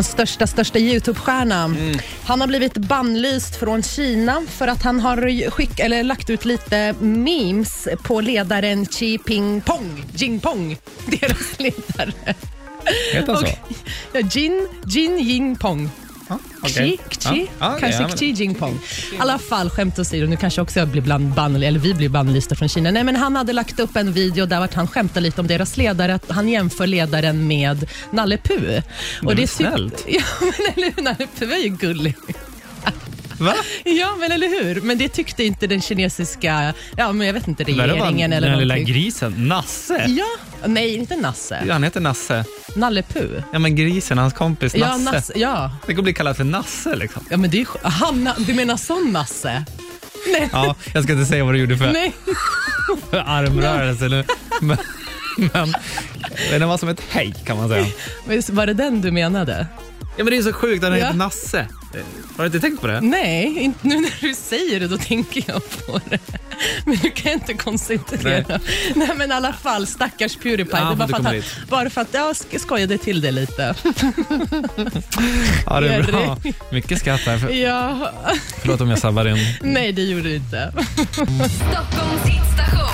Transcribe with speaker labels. Speaker 1: Hans största, största Youtube-stjärna. Han har blivit bannlyst från Kina för att han har skick, eller lagt ut lite memes på ledaren Xi Ping-Pong, Jinping, deras ledare.
Speaker 2: Heter han så?
Speaker 1: Och- ja, Jin, Jin Jinpong.
Speaker 2: Ja,
Speaker 1: Xi,
Speaker 2: okej.
Speaker 1: Xi,
Speaker 2: Ja, ja,
Speaker 1: kanske
Speaker 2: ja, men-
Speaker 1: Xi Jinping. I alla fall, skämt åsido, nu kanske också jag blir bland bannl- eller vi blir bannlysta från Kina. Nej, men han hade lagt upp en video där vart han skämtade lite om deras ledare, att han jämför ledaren med Nalle Puh.
Speaker 2: men
Speaker 1: tyck-
Speaker 2: snällt.
Speaker 1: Ja, men eller hur? Nalle Puh är ju gullig.
Speaker 2: Va?
Speaker 1: Ja, men eller hur? Men det tyckte inte den kinesiska, ja men jag vet inte,
Speaker 2: Värre var
Speaker 1: regeringen eller
Speaker 2: den lilla
Speaker 1: någonting.
Speaker 2: grisen, Nasse.
Speaker 1: Ja, nej inte Nasse.
Speaker 2: Han heter Nasse.
Speaker 1: Nalle Puh.
Speaker 2: Ja, men grisen, hans kompis
Speaker 1: Ja,
Speaker 2: Nasse.
Speaker 1: Nasse, ja.
Speaker 2: Det kommer bli kallad för Nasse liksom.
Speaker 1: Ja, men det är ju... Hanna, du menar sån Nasse? Nej.
Speaker 2: Ja, jag ska inte säga vad du gjorde för,
Speaker 1: Nej.
Speaker 2: för armrörelse nu. Men, men den var som ett hej kan man säga.
Speaker 1: Men just- Var det den du menade?
Speaker 2: Ja, men det är så sjukt att han
Speaker 1: Ja.
Speaker 2: heter Nasse. Eh, Har du inte tänkt på det?
Speaker 1: Nej, inte nu när du säger det, då tänker jag på det. Men nu kan jag inte koncentrera. Nej, men i alla fall, stackars Pewdiepie.
Speaker 2: Ja,
Speaker 1: det är bara
Speaker 2: du
Speaker 1: för att,
Speaker 2: kommer
Speaker 1: han, bara för att jag sk- skojade till det lite.
Speaker 2: Ja, det är
Speaker 1: Jerry.
Speaker 2: bra. Mycket skratt här. För,
Speaker 1: Ja,
Speaker 2: förlåt om jag sabbar in.
Speaker 1: nej det gjorde du inte.
Speaker 3: Stockholms hits